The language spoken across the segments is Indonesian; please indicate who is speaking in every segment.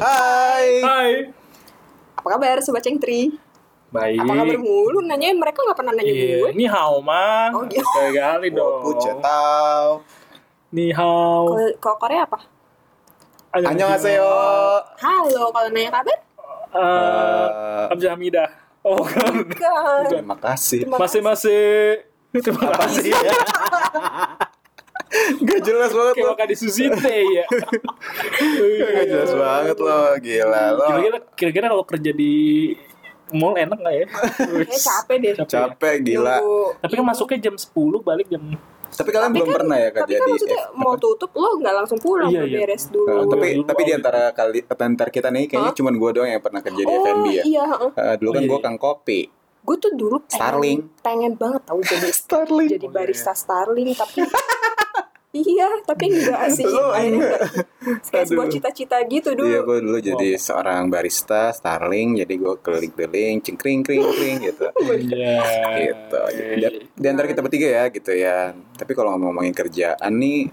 Speaker 1: Hai.
Speaker 2: Hai.
Speaker 3: Apa kabar Sobat Cengtri?
Speaker 2: Baik.
Speaker 3: Apa kabar mulu? Nanyain mereka nggak pernah nanya
Speaker 2: Iya,
Speaker 3: gue.
Speaker 2: ini hao man.
Speaker 3: Oh, gitu.
Speaker 2: Sekali dong.
Speaker 1: Pucet tahu.
Speaker 2: Ni hao.
Speaker 3: Kalau- Kalau Korea apa?
Speaker 1: Annyeonghaseyo.
Speaker 3: Halo, kalau nanya kabar?
Speaker 2: Eh,
Speaker 1: Eh,
Speaker 2: Abjamida. Oh, bukan.
Speaker 3: Bukan.
Speaker 1: Terima kasih.
Speaker 3: Terima kasih.
Speaker 2: Masih-masih. Terima
Speaker 1: Apa
Speaker 2: kasih.
Speaker 1: sih ya? Gak jelas banget
Speaker 2: Kayak
Speaker 1: lo.
Speaker 2: makan di Susite ya.
Speaker 1: Gak jelas banget lo. Gila lo.
Speaker 2: Kira-kira kira-kira kalau kerja di mall enak nggak ya?
Speaker 3: Kayaknya capek deh.
Speaker 2: Capek.
Speaker 1: Capek gila.
Speaker 3: Nunggu.
Speaker 2: Tapi kan masuknya jam 10 balik jam
Speaker 1: Tapi kalian belum
Speaker 3: kan-
Speaker 1: pernah ya
Speaker 3: Tapi
Speaker 1: kerja
Speaker 3: kan
Speaker 1: di
Speaker 3: maksudnya
Speaker 1: F-
Speaker 3: mau tutup lo nggak langsung pulang,
Speaker 2: Iya,
Speaker 3: lo
Speaker 2: iya.
Speaker 3: beres dulu.
Speaker 1: Nah, tapi
Speaker 2: Dulu
Speaker 1: tapi di
Speaker 2: awal.
Speaker 1: antara kali antar kita nih kayaknya
Speaker 3: Hah?
Speaker 1: cuman gue doang yang pernah kerja di
Speaker 3: oh
Speaker 1: F&B ya.
Speaker 3: iya, heeh.
Speaker 1: Eh, dulu kan
Speaker 2: Oh, iya.
Speaker 1: gue kang kopi.
Speaker 3: gue tuh dulu pengen,
Speaker 1: Starling.
Speaker 3: pengen banget tau jadi
Speaker 1: Starling.
Speaker 3: jadi barista Starling tapi iya tapi enggak sih
Speaker 1: Lo
Speaker 3: Akhirnya enggak. kayak sebuah
Speaker 1: Aduh.
Speaker 3: cita-cita gitu dulu
Speaker 1: Iya gue dulu jadi seorang barista Starling jadi gue keliling-keliling cengkring kring kring gitu
Speaker 2: Iya.
Speaker 1: gitu Di- di antara kita bertiga ya gitu ya tapi kalau ngomongin kerjaan nih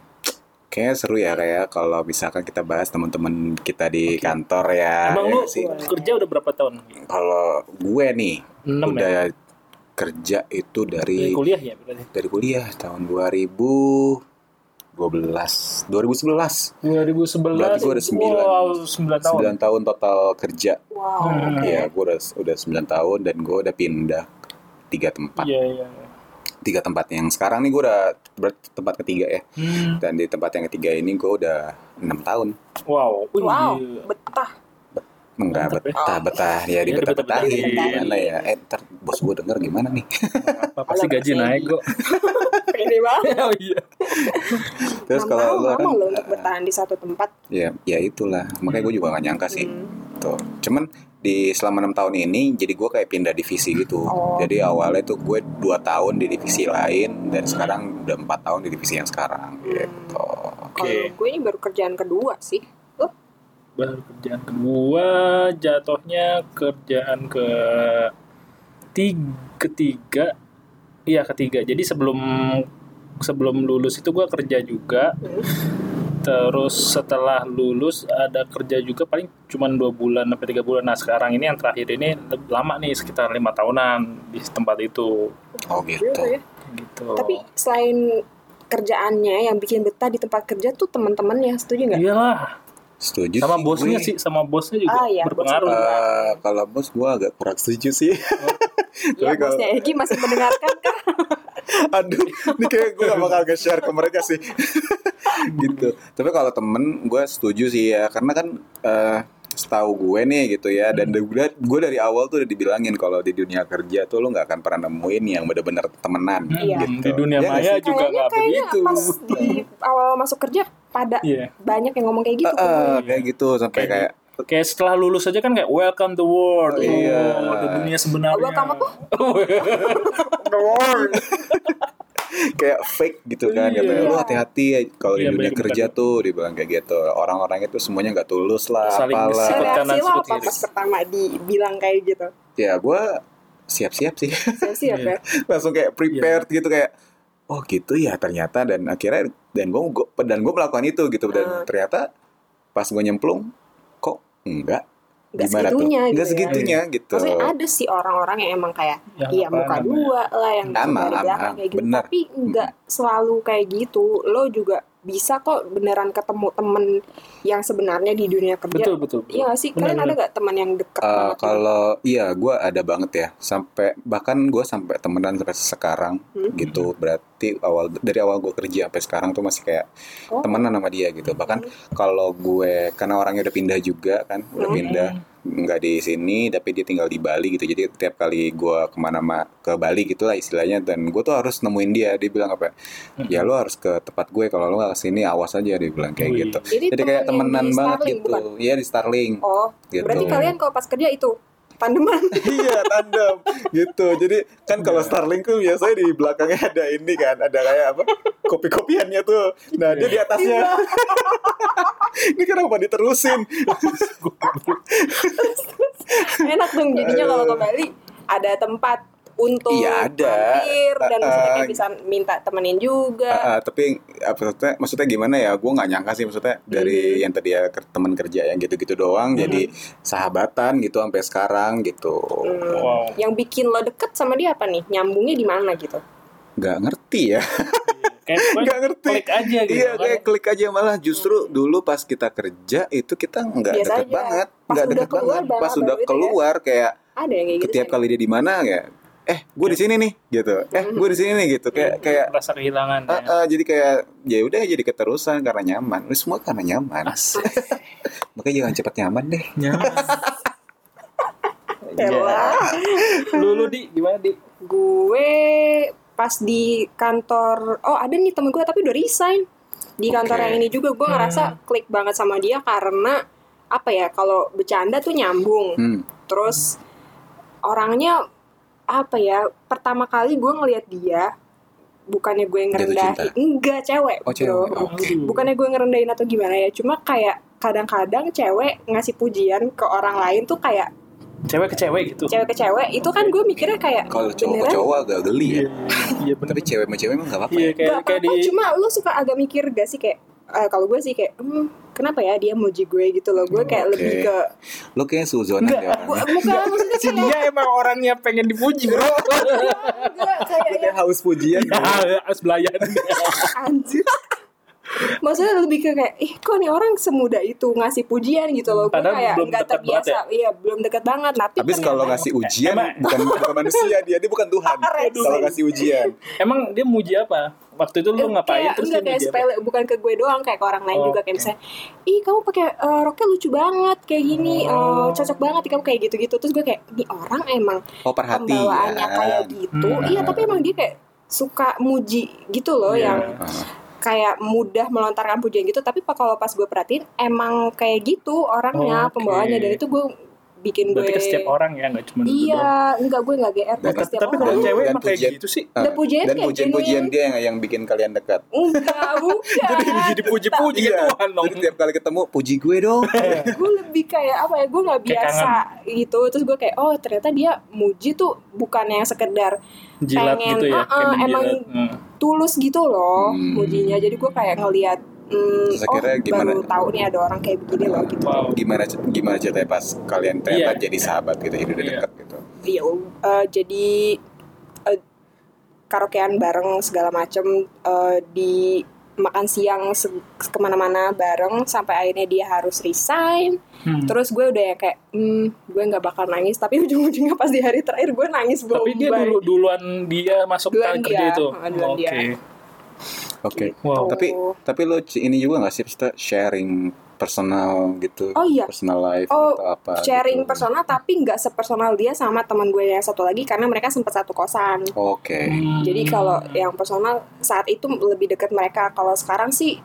Speaker 1: kayaknya seru ya kayak kalau misalkan kita bahas teman-teman kita di kantor ya
Speaker 2: Emang
Speaker 1: ya
Speaker 2: lu
Speaker 1: nggak sih
Speaker 2: kerja udah berapa tahun?
Speaker 1: kalau gue nih
Speaker 2: 6 ya.
Speaker 1: udah kerja itu
Speaker 2: Dari
Speaker 1: dari
Speaker 2: kuliah ya berarti.
Speaker 1: dari kuliah tahun 2012 2011
Speaker 2: 2011
Speaker 1: Berarti gua ada sembilan.
Speaker 2: wow, 9 tahun
Speaker 1: 9 tahun total kerja
Speaker 3: wow
Speaker 2: Hmm,
Speaker 3: oke.
Speaker 1: Iya, gue udah udah 9 tahun dan gue udah pindah tiga tempat.
Speaker 2: iya iya
Speaker 1: Tiga tempat yang sekarang nih gue udah ber- tempat ketiga ya.
Speaker 2: Hmm,
Speaker 1: Dan di tempat yang ketiga ini gue udah enam tahun.
Speaker 2: wow Wih,
Speaker 3: wow
Speaker 2: gila.
Speaker 3: betah
Speaker 1: Enggak
Speaker 2: Mantap ya.
Speaker 1: betah betah ya di
Speaker 2: Iya,
Speaker 1: betah betahin
Speaker 2: dibetah-betahin.
Speaker 1: gimana ya? Eh, ntar bos gue denger gimana nih?
Speaker 2: Apa, pasti gaji naik kok
Speaker 3: pede banget
Speaker 2: oh iya
Speaker 1: Terus kalau lo
Speaker 3: lama
Speaker 1: kan,
Speaker 3: lo untuk
Speaker 1: eh,
Speaker 3: bertahan di satu tempat
Speaker 1: ya ya itulah. Makanya gue juga gak nyangka sih.
Speaker 3: Hmm.
Speaker 1: Tuh. Cuman di selama enam tahun ini jadi gue kayak pindah divisi gitu.
Speaker 3: Oh.
Speaker 1: Jadi awalnya tuh gue dua tahun di divisi lain dan sekarang udah empat tahun di divisi yang sekarang gitu.
Speaker 3: kalau gue ini baru kerjaan kedua sih lo
Speaker 2: baru kerjaan kedua jatuhnya kerjaan ke tiga ketiga iya ketiga jadi sebelum sebelum lulus itu gua kerja juga terus setelah lulus ada kerja juga paling cuma dua bulan sampai tiga bulan nah sekarang ini yang terakhir ini lama nih sekitar lima tahunan di tempat itu
Speaker 1: Oh gitu.
Speaker 3: Iya, iya.
Speaker 2: gitu
Speaker 3: tapi selain kerjaannya yang bikin betah di tempat kerja tuh teman-temannya setuju nggak Iya,
Speaker 2: iyalah
Speaker 1: Setuju
Speaker 2: sama
Speaker 1: sih
Speaker 2: bosnya
Speaker 1: gue.
Speaker 2: sih sama bosnya juga
Speaker 3: Ah, iya,
Speaker 2: berpengaruh
Speaker 3: bosnya.
Speaker 1: Eh, kalau bos gue agak kurang setuju sih.
Speaker 3: ya
Speaker 1: Tapi kalau-
Speaker 3: bosnya Egi masih mendengarkan kan
Speaker 1: Aduh, ini kayak gue gak bakal nge-share ke mereka sih. gitu. Tapi kalau temen gue setuju sih ya, karena kan eh, setahu gue nih gitu ya dan
Speaker 2: Hmm.
Speaker 1: udah gue dari awal tuh udah dibilangin kalau di dunia kerja tuh lo nggak akan pernah nemuin yang bener-bener temenan
Speaker 2: Hmm,
Speaker 3: Iya.
Speaker 2: di dunia
Speaker 1: Iya
Speaker 2: maya
Speaker 1: nggak sih?
Speaker 2: juga
Speaker 3: kayaknya
Speaker 2: nggak
Speaker 3: kayaknya
Speaker 2: begitu
Speaker 3: pas di awal masuk kerja pada
Speaker 2: Iya.
Speaker 3: banyak yang ngomong kayak gitu
Speaker 1: Eh,
Speaker 3: ke gue.
Speaker 1: eh, kayak gitu sampai kayak,
Speaker 2: Kayak kayak setelah lulus aja kan kayak welcome to world
Speaker 1: Iya.
Speaker 2: Oh, the dunia sebenarnya
Speaker 3: Welcome apa?
Speaker 1: kayak fake gitu kan
Speaker 2: Iya.
Speaker 1: katanya lu hati-hati ya kalau di
Speaker 2: Iya,
Speaker 1: dunia
Speaker 2: bener,
Speaker 1: kerja tuh dibilang kayak gitu orang-orang itu semuanya nggak tulus lah
Speaker 2: Saling
Speaker 1: apalah
Speaker 2: sikut
Speaker 3: Reaksi
Speaker 2: kanan,
Speaker 3: lo
Speaker 2: sikut
Speaker 3: apa
Speaker 2: kiri.
Speaker 3: pas pertama dibilang kayak gitu?
Speaker 1: ya gue siap-siap sih
Speaker 3: Siap-siap
Speaker 2: Iya.
Speaker 3: ya?
Speaker 1: langsung kayak prepared
Speaker 3: Iya.
Speaker 1: gitu kayak oh gitu ya ternyata dan akhirnya dan gue dan gue melakukan itu gitu dan
Speaker 3: Ah.
Speaker 1: ternyata pas gue nyemplung kok enggak
Speaker 3: Nggak
Speaker 1: Gimana tuh?
Speaker 3: segitunya gitu
Speaker 1: nggak
Speaker 3: ya.
Speaker 1: segitunya gitu
Speaker 3: Maksudnya ada sih orang-orang yang emang kayak
Speaker 2: Yang
Speaker 3: Iya
Speaker 2: apa
Speaker 3: muka
Speaker 2: namanya?
Speaker 3: dua lah yang
Speaker 1: Sama,
Speaker 3: dari belakang
Speaker 1: sama.
Speaker 3: kayak gitu
Speaker 1: Bener.
Speaker 3: Tapi nggak selalu kayak gitu Lo juga bisa kok beneran ketemu temen yang sebenarnya di dunia kerja
Speaker 2: betul betul, betul.
Speaker 3: Iya nggak sih?
Speaker 2: Bener,
Speaker 3: Kalian ada
Speaker 2: bener.
Speaker 3: nggak teman yang deket
Speaker 1: Eh,
Speaker 3: banget gitu?
Speaker 1: kalau iya gue ada banget ya sampai bahkan gue sampai temenan sampai sekarang
Speaker 3: Hmm.
Speaker 1: gitu berarti awal dari awal gue kerja sampai sekarang tuh masih kayak
Speaker 3: Oh. Hmm.
Speaker 1: temenan sama dia gitu bahkan kalau gue karena orangnya udah pindah juga kan udah
Speaker 3: Hmm.
Speaker 1: pindah nggak di sini tapi dia tinggal di Bali gitu jadi tiap kali gue kemana ma ke Bali gitulah istilahnya dan gue tuh harus nemuin dia dia bilang apa ya lo harus ke tempat gue kalau lo nggak sini awas aja dia bilang kayak
Speaker 2: Wih.
Speaker 1: gitu
Speaker 3: Jadi
Speaker 1: jadi kayak
Speaker 3: temen yang
Speaker 1: temenan
Speaker 3: di
Speaker 1: banget
Speaker 3: Starling,
Speaker 1: gitu
Speaker 3: bukan?
Speaker 1: Iya di Starling
Speaker 3: Oh
Speaker 1: gitu
Speaker 3: berarti kalian kalau pas kerja itu tandeman
Speaker 1: iya tandem gitu jadi kan kalau Starling tuh biasanya di belakangnya ada ini kan ada kayak apa kopi-kopiannya tuh nah dia di atasnya
Speaker 3: Iya.
Speaker 1: ini kenapa diterusin
Speaker 3: Enak dong jadinya kalau ke Bali ada tempat untuk
Speaker 1: Iya, ada.
Speaker 3: mampir dan maksudnya kayak
Speaker 1: Ah,
Speaker 3: bisa minta temenin juga.
Speaker 1: Ah, ah, tapi apa maksudnya, maksudnya gimana ya? Gue nggak nyangka sih maksudnya dari
Speaker 3: Hmm.
Speaker 1: yang tadi ya ke- teman kerja yang gitu-gitu doang, jadi sahabatan gitu sampai sekarang gitu.
Speaker 3: Hmm.
Speaker 2: Wow.
Speaker 3: Yang bikin lo deket sama dia apa nih? Nyambungnya di mana gitu?
Speaker 1: Nggak ngerti ya?
Speaker 2: Kayak pokoknya
Speaker 1: Nggak ngerti.
Speaker 2: klik aja gitu.
Speaker 1: Iya,
Speaker 2: kan.
Speaker 1: kayak klik aja malah justru dulu pas kita kerja itu kita nggak
Speaker 3: Hmm. Biasa
Speaker 1: deket
Speaker 3: aja.
Speaker 1: banget,
Speaker 3: Pas
Speaker 1: nggak
Speaker 3: udah
Speaker 1: deket
Speaker 3: keluar
Speaker 1: banget.
Speaker 3: baru-
Speaker 1: Pas
Speaker 3: baru
Speaker 1: sudah
Speaker 3: itu ya.
Speaker 1: keluar kayak
Speaker 3: Ada yang kayak gitu. Hmm.
Speaker 1: ketiap
Speaker 3: Sen?
Speaker 1: kali dia di mana kayak eh gue di sini nih gitu. Eh
Speaker 3: Hmm.
Speaker 1: gue di sini nih gitu. Kayak kayak
Speaker 2: rasa kehilangan. ya.
Speaker 1: ah, ah, jadi kayak ya udah jadi keterusan karena nyaman. Ini semua karena
Speaker 3: Ah.
Speaker 1: nyaman.
Speaker 2: Asik.
Speaker 1: Makanya jangan cepat nyaman deh.
Speaker 3: Elah.
Speaker 2: Lu lu di gimana di?
Speaker 3: Gue pas di kantor, oh ada nih temen gue tapi udah resign di kantor
Speaker 1: Oke. Hmm.
Speaker 3: yang ini juga gue ngerasa klik banget sama dia karena apa ya kalau bercanda tuh nyambung
Speaker 1: Hmm.
Speaker 3: terus orangnya apa ya pertama kali gue ngelihat dia bukannya gue
Speaker 1: cinta.
Speaker 3: ngerendahin enggak cewek
Speaker 1: Oh, cewek.
Speaker 3: bro.
Speaker 1: Oh. Oke.
Speaker 2: Aduh.
Speaker 3: bukannya gue ngerendahin atau gimana ya cuma kayak kadang-kadang cewek ngasih pujian ke orang lain tuh kayak
Speaker 2: cewek ke cewek gitu.
Speaker 3: cewek ke cewek itu kan gue mikirnya kayak
Speaker 1: Kalau cowok ke
Speaker 3: beneran
Speaker 1: cowok agak geli ya.
Speaker 2: Iya, iya benar.
Speaker 1: Tapi cewek sama cewek emang gak apa-apa. ya?
Speaker 2: Iya kayak
Speaker 3: Gak
Speaker 2: kayak
Speaker 3: apa-apa,
Speaker 2: di
Speaker 3: cuma lu suka agak mikir gak sih kayak eh, kalau gue sih kayak hmm, kenapa ya dia muji gue gitu loh gue
Speaker 1: Oke.
Speaker 3: kayak lebih ke
Speaker 1: Lo kayaknya suzonan deh
Speaker 3: Bu-
Speaker 1: orangnya.
Speaker 3: bukan maksudnya
Speaker 2: si dia emang orangnya pengen dipuji bro
Speaker 3: enggak
Speaker 2: Iya,
Speaker 3: kayak
Speaker 1: Lo kayak haus pujian. gitu.
Speaker 2: as belayan
Speaker 3: anjir maksudnya lebih ke kayak ih kok nih orang semuda itu ngasih pujian gitu loh gue
Speaker 2: Padahal
Speaker 3: kayak
Speaker 2: belum
Speaker 3: nggak
Speaker 2: dekat banget ya?
Speaker 3: terbiasa iya belum deket banget tapi
Speaker 1: Habis
Speaker 3: ternyata-
Speaker 1: kalau ngasih ujian
Speaker 2: Iya. Emang-
Speaker 1: bukan, bukan manusia dia, dia bukan Tuhan.
Speaker 3: Aduh.
Speaker 1: Kalau ngasih ujian.
Speaker 2: emang dia muji apa waktu itu
Speaker 3: Eh,
Speaker 2: lu ngapain
Speaker 3: kayak,
Speaker 2: terus dia
Speaker 3: enggak kayak
Speaker 2: muji apa?
Speaker 3: sepele bukan ke gue doang kayak ke orang lain
Speaker 2: Oh,
Speaker 3: juga kayak misalnya ih kamu pakai eh, roknya lucu banget kayak gini eh,
Speaker 2: Oh.
Speaker 3: cocok banget nih kamu kayak gitu-gitu terus gue kayak ini orang emang
Speaker 1: Oh perhatian.
Speaker 3: pembawaannya kayak gitu
Speaker 2: Hmm.
Speaker 3: iya tapi emang dia kayak suka muji gitu loh
Speaker 2: Iya.
Speaker 3: yang
Speaker 1: Ah,
Speaker 3: kayak mudah melontarkan pujian gitu tapi pa- kalau pas gue perhatiin emang kayak gitu orangnya
Speaker 2: Oke.
Speaker 3: pembawaannya dan itu gue bikin
Speaker 2: berarti
Speaker 3: gue
Speaker 2: ke setiap orang ya nggak cuma lu doang.
Speaker 3: iya enggak gue enggak gr
Speaker 1: Dan-
Speaker 3: ke setiap
Speaker 2: tapi
Speaker 3: orang
Speaker 2: kalau
Speaker 1: Dan-
Speaker 2: cewek
Speaker 1: dan
Speaker 2: emang kayak
Speaker 1: pujian-
Speaker 2: gitu sih
Speaker 3: Udah pujian
Speaker 1: dan
Speaker 3: kayak
Speaker 1: pujian-pujian
Speaker 3: genuine.
Speaker 1: dia yang, yang bikin kalian dekat.
Speaker 3: enggak bukan
Speaker 2: jadi jadi dipuji-puji ke
Speaker 1: Iya.
Speaker 2: Tuhan dong
Speaker 1: Jadi tiap kali ketemu puji gue dong.
Speaker 3: gue lebih kayak apa ya gue nggak
Speaker 2: Kayak
Speaker 3: biasa gitu terus gue kayak oh ternyata dia muji tuh bukan yang sekedar
Speaker 2: jilat
Speaker 3: pengen,
Speaker 2: gitu ya
Speaker 3: ah, ah,
Speaker 2: pengen
Speaker 3: emang-
Speaker 2: jilat Hmm.
Speaker 3: tulus gitu loh
Speaker 1: Hmm.
Speaker 3: mujinya jadi gue kayak ngelihat hmm,
Speaker 1: Terus
Speaker 3: oh
Speaker 1: akhirnya gimana?
Speaker 3: baru tahu nih ada orang kayak begini loh gitu
Speaker 2: wow
Speaker 1: Gimana gimana ceritanya pas kalian ternyata
Speaker 2: Iya.
Speaker 1: jadi sahabat gitu, jadi udah
Speaker 2: Iya.
Speaker 1: dekat gitu.
Speaker 3: Iya, eh, jadi eh, karaokean bareng segala macem eh, di makan siang se- kemana-mana bareng sampai akhirnya dia harus resign
Speaker 2: Hmm.
Speaker 3: terus gue udah yang kayak hmm, gue nggak bakal nangis tapi ujung-ujungnya pas di hari terakhir gue nangis
Speaker 2: tapi dia
Speaker 3: bombay.
Speaker 2: dulu duluan dia masuk
Speaker 3: Duluan
Speaker 2: ke kerja
Speaker 3: dia,
Speaker 2: itu
Speaker 3: ah, duluan dia.
Speaker 2: oke
Speaker 1: Oke.
Speaker 2: wow
Speaker 3: Gitu.
Speaker 1: Tapi tapi lo c- ini juga nggak sih maksudnya sharing personal gitu,
Speaker 3: Oh, iya.
Speaker 1: personal life
Speaker 3: Oh,
Speaker 1: atau apa?
Speaker 3: sharing
Speaker 1: gitu.
Speaker 3: personal tapi nggak sepersonal dia sama teman gue yang satu lagi karena mereka sempat satu kosan
Speaker 1: Oke.
Speaker 2: Hmm.
Speaker 3: Jadi kalau yang personal saat itu lebih dekat mereka. Kalau sekarang sih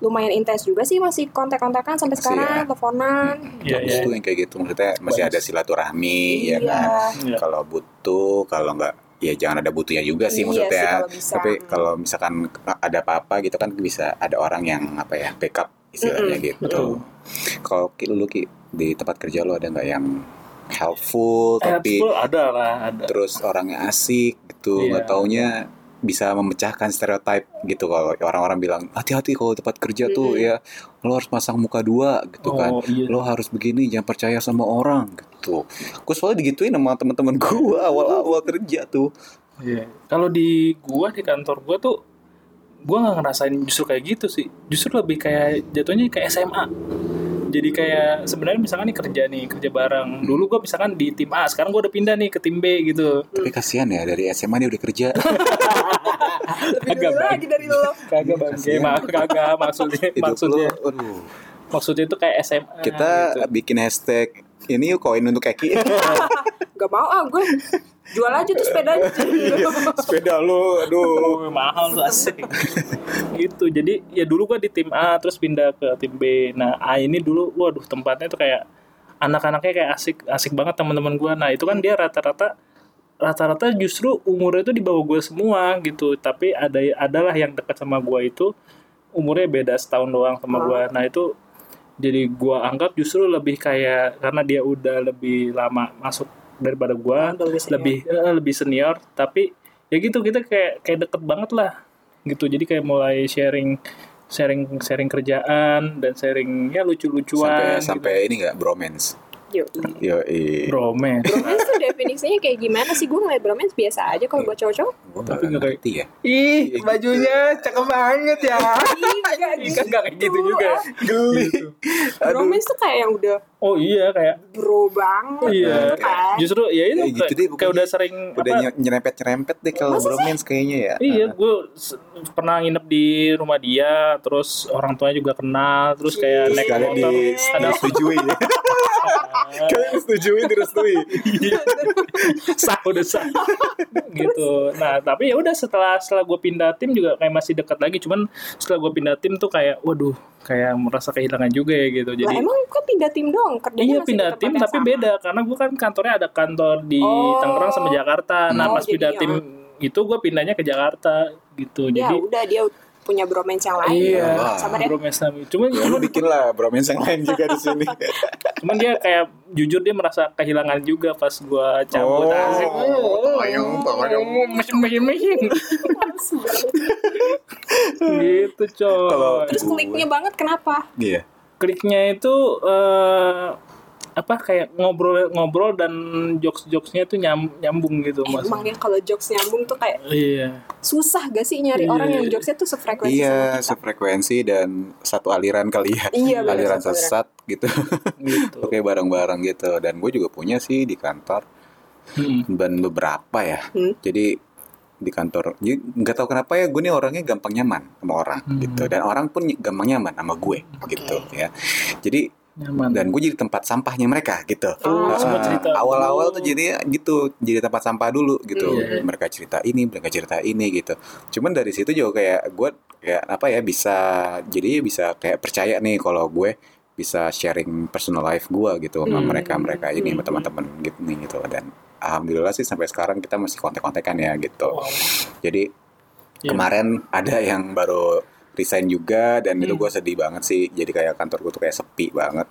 Speaker 3: lumayan intens juga sih masih kontak-kontakan sampai
Speaker 1: Masih
Speaker 3: sekarang,
Speaker 1: ya.
Speaker 3: teleponan.
Speaker 2: Iya,
Speaker 1: Bagus
Speaker 2: iya.
Speaker 1: tuh yang kayak gitu maksudnya masih ada silaturahmi ya kan.
Speaker 2: Iya.
Speaker 1: Kalau butuh, kalau nggak ya jangan ada butuhnya juga sih
Speaker 3: Iya
Speaker 1: maksudnya.
Speaker 3: sih, kalau bisa.
Speaker 1: Tapi kalau misalkan ada apa-apa gitu kan bisa ada orang yang apa ya backup istilahnya gitu.
Speaker 2: betul.
Speaker 1: Kalau Ki, lu Ki, di tempat kerja lo ada nggak yang
Speaker 2: Eh,
Speaker 1: helpful tapi
Speaker 2: Helpful ada lah ada
Speaker 1: terus orangnya asik gitu
Speaker 2: Iya.
Speaker 1: nggak taunya bisa memecahkan stereotype gitu kalau orang-orang bilang hati-hati kalau tempat kerja tuh
Speaker 3: Mm-mm.
Speaker 1: ya lo harus pasang muka dua gitu kan
Speaker 2: oh iya
Speaker 1: lo harus begini jangan percaya sama orang gitu gue soalnya digituin sama teman-teman gue awal-awal kerja tuh
Speaker 2: Iya. Kalau di gua di kantor gua tuh gua nggak ngerasain justru kayak gitu sih. Justru lebih kayak jatuhnya kayak SMA. Jadi kayak sebenarnya misalkan nih kerja nih kerja bareng. Dulu gua misalkan di tim A, sekarang gua udah pindah nih ke tim B gitu.
Speaker 1: tapi kasihan ya dari SMA dia udah kerja
Speaker 3: Lebih
Speaker 2: Agak
Speaker 3: dulu
Speaker 2: baik.
Speaker 3: lagi dari lo.
Speaker 2: Kagak bang,
Speaker 1: Kasihan.
Speaker 2: Mak- Iya, kagak maksudnya
Speaker 1: hidup lo
Speaker 2: maksudnya
Speaker 1: aduh
Speaker 2: maksudnya itu kayak SMA.
Speaker 1: kita
Speaker 2: gitu.
Speaker 1: bikin hashtag ini yuk koin untuk keki
Speaker 3: Gak mau ah gue jual aja tuh sepedanya.
Speaker 1: sepeda lo aduh
Speaker 2: Oh, mahal tuh asik. gitu. Jadi ya dulu gua di tim A terus pindah ke tim B. Nah, A ini dulu waduh tempatnya tuh kayak anak-anaknya kayak asik asik banget teman-teman gua. Nah, itu kan dia rata-rata rata-rata justru umurnya itu di bawah gua semua gitu. Tapi ada adalah yang dekat sama gua itu umurnya beda setahun doang sama gua. Nah, itu jadi gua anggap justru lebih kayak karena dia udah lebih lama masuk daripada gua
Speaker 3: Orang lebih senior.
Speaker 2: lebih eh, lebih senior tapi ya gitu kita kayak kayak deket banget lah gitu jadi kayak mulai sharing sharing sharing kerjaan dan sharing ya
Speaker 1: sampai
Speaker 2: lucu-lucuan
Speaker 1: sampai ini nggak bromance
Speaker 3: Yuk.
Speaker 1: yo
Speaker 2: gitu. Bromance.
Speaker 3: Bromance tuh iya definisinya kayak gimana sih? Gue ngeliat bromance biasa aja kalau buat cowok-cowok.
Speaker 1: gue
Speaker 2: Tapi
Speaker 1: nggak
Speaker 2: nggak kayak-
Speaker 1: ngerti ya
Speaker 2: ih bajunya cakep banget ya
Speaker 3: Iya,
Speaker 2: Ih, kan nggak kayak gitu juga
Speaker 1: geli aduh
Speaker 3: Bromance tuh kayak yang udah
Speaker 2: oh iya kayak
Speaker 3: bro banget
Speaker 2: iya
Speaker 3: gitu kan.
Speaker 2: justru ya itu
Speaker 1: Ya gitu deh,
Speaker 2: kayak
Speaker 1: pokoknya.
Speaker 2: udah sering
Speaker 1: udah
Speaker 2: apa,
Speaker 1: nyerempet nyerempet deh kalau bromance kayaknya ya
Speaker 2: Iya, gue pernah nginep di rumah dia, terus orang tuanya juga kenal, terus kayak
Speaker 1: Terus
Speaker 2: naik
Speaker 1: kalian
Speaker 2: motor,
Speaker 1: di-
Speaker 2: ada
Speaker 1: disetujui ya. kalian disetujui direstui
Speaker 2: sah udah sah gitu nah tapi ya udah setelah setelah gue pindah tim juga kayak masih dekat lagi cuman setelah gue pindah tim tuh kayak waduh kayak merasa kehilangan juga ya gitu
Speaker 3: Lah
Speaker 2: jadi
Speaker 3: emang kok pindah tim dong? Kerjanya
Speaker 2: Iya
Speaker 3: masih di
Speaker 2: pindah
Speaker 3: tempat
Speaker 2: tim
Speaker 3: yang
Speaker 2: tapi
Speaker 3: sama.
Speaker 2: beda karena gue kan kantornya ada kantor di
Speaker 3: Oh.
Speaker 2: Tangerang sama Jakarta. Nah
Speaker 3: Oh,
Speaker 2: pas pindah
Speaker 3: jadi
Speaker 2: tim itu gue pindahnya ke Jakarta gitu.
Speaker 3: Ya
Speaker 2: Jadi
Speaker 3: udah dia punya bromance yang lain.
Speaker 2: Iya.
Speaker 3: Sabar ya.
Speaker 2: bromance sama- Cuman
Speaker 1: ya lu bikin lah bromance yang lain juga di sini
Speaker 2: cuman dia kayak jujur dia merasa kehilangan juga pas gua cabut
Speaker 1: Oh.
Speaker 2: asik. Oh,
Speaker 1: Oh, ayung, ayung.
Speaker 2: mesin mesin mesin gitu
Speaker 1: Kalau-
Speaker 2: coy
Speaker 3: Terus kliknya banget kenapa?
Speaker 1: iya
Speaker 2: kliknya itu eh, apa kayak ngobrol ngobrol dan jokes jokesnya tuh nyam, nyambung gitu
Speaker 3: Eh,
Speaker 2: mas
Speaker 3: emangnya kalau jokes nyambung tuh kayak
Speaker 2: iya
Speaker 3: susah gak sih nyari
Speaker 2: Iya.
Speaker 3: orang yang jokesnya tuh sefrekuensi
Speaker 1: iya
Speaker 3: sama kita?
Speaker 1: sefrekuensi dan satu aliran kali ya
Speaker 3: Iya, benar,
Speaker 1: aliran
Speaker 3: satu aliran.
Speaker 1: sesat gitu
Speaker 2: gitu
Speaker 1: oke bareng-bareng gitu dan gue juga punya sih di kantor
Speaker 2: Mm.
Speaker 1: dan beberapa ya.
Speaker 3: Hmm.
Speaker 1: Jadi di kantor, jadi nggak tahu kenapa ya gue nih orangnya gampang nyaman sama orang
Speaker 2: Hmm.
Speaker 1: gitu, dan orang pun ny- gampang nyaman sama gue gitu ya. Jadi
Speaker 2: nyaman
Speaker 1: dan gue jadi tempat sampahnya mereka gitu.
Speaker 3: Oh,
Speaker 1: Ah,
Speaker 2: semua cerita.
Speaker 1: Awal-awal tuh jadi gitu, jadi tempat sampah dulu gitu.
Speaker 2: Iya.
Speaker 1: Mereka cerita ini, mereka cerita ini gitu. Cuman dari situ juga kayak gue kayak apa ya bisa jadi bisa kayak percaya nih kalau gue bisa sharing personal life gue gitu sama
Speaker 2: Hmm.
Speaker 1: mereka mereka ini sama
Speaker 3: Hmm.
Speaker 1: teman-teman gitu nih gitu dan alhamdulillah sih sampai sekarang kita masih kontek-kontekan ya gitu.
Speaker 2: Wow.
Speaker 1: Jadi
Speaker 2: Iya.
Speaker 1: kemarin ada yang baru resign juga dan itu
Speaker 2: Hmm.
Speaker 1: gue sedih banget sih jadi kayak kantor gue tuh kayak sepi banget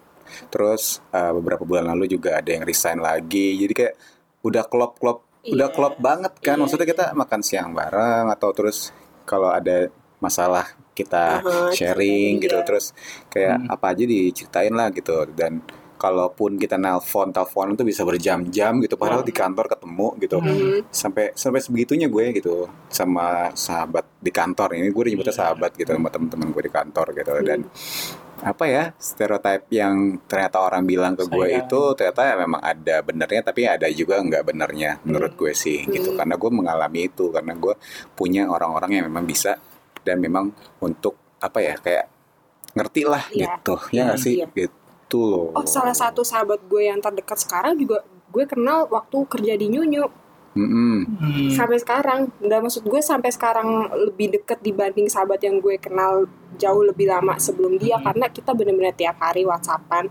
Speaker 1: terus eh, beberapa bulan lalu juga ada yang resign lagi jadi kayak udah klop klop udah
Speaker 3: Iya.
Speaker 1: klop banget kan
Speaker 3: Iya,
Speaker 1: maksudnya kita makan siang bareng atau terus kalau ada masalah kita
Speaker 3: Aha,
Speaker 1: sharing
Speaker 3: iya.
Speaker 1: gitu terus kayak
Speaker 2: Hmm.
Speaker 1: apa aja diceritain lah gitu dan kalaupun kita nelpon telepon itu bisa berjam-jam gitu padahal di kantor ketemu gitu
Speaker 3: Hmm.
Speaker 1: sampai sampai sebegitunya gue gitu sama sahabat di kantor ini gue udah
Speaker 3: Iya.
Speaker 1: nyebutnya sahabat gitu sama teman-teman gue di kantor gitu
Speaker 3: Hmm.
Speaker 1: dan apa ya stereotip yang ternyata orang bilang ke gue
Speaker 2: Sayang.
Speaker 1: itu ternyata ya memang ada benernya tapi ada juga nggak benernya menurut gue sih gitu
Speaker 3: Hmm.
Speaker 1: karena gue mengalami itu karena gue punya orang-orang yang memang bisa dan memang untuk apa ya kayak ngerti lah
Speaker 3: Iya.
Speaker 1: gitu ya nggak sih
Speaker 3: Iya.
Speaker 1: gitu loh
Speaker 3: Oh salah satu sahabat gue yang terdekat sekarang juga gue kenal waktu kerja di Nyunyu
Speaker 1: Mm-mm.
Speaker 2: Hmm.
Speaker 3: sampai sekarang. Nggak maksud gue sampai sekarang lebih deket dibanding sahabat yang gue kenal jauh lebih lama sebelum dia
Speaker 1: Mm-hmm.
Speaker 2: Hmm.
Speaker 3: karena kita bener-bener tiap hari WhatsAppan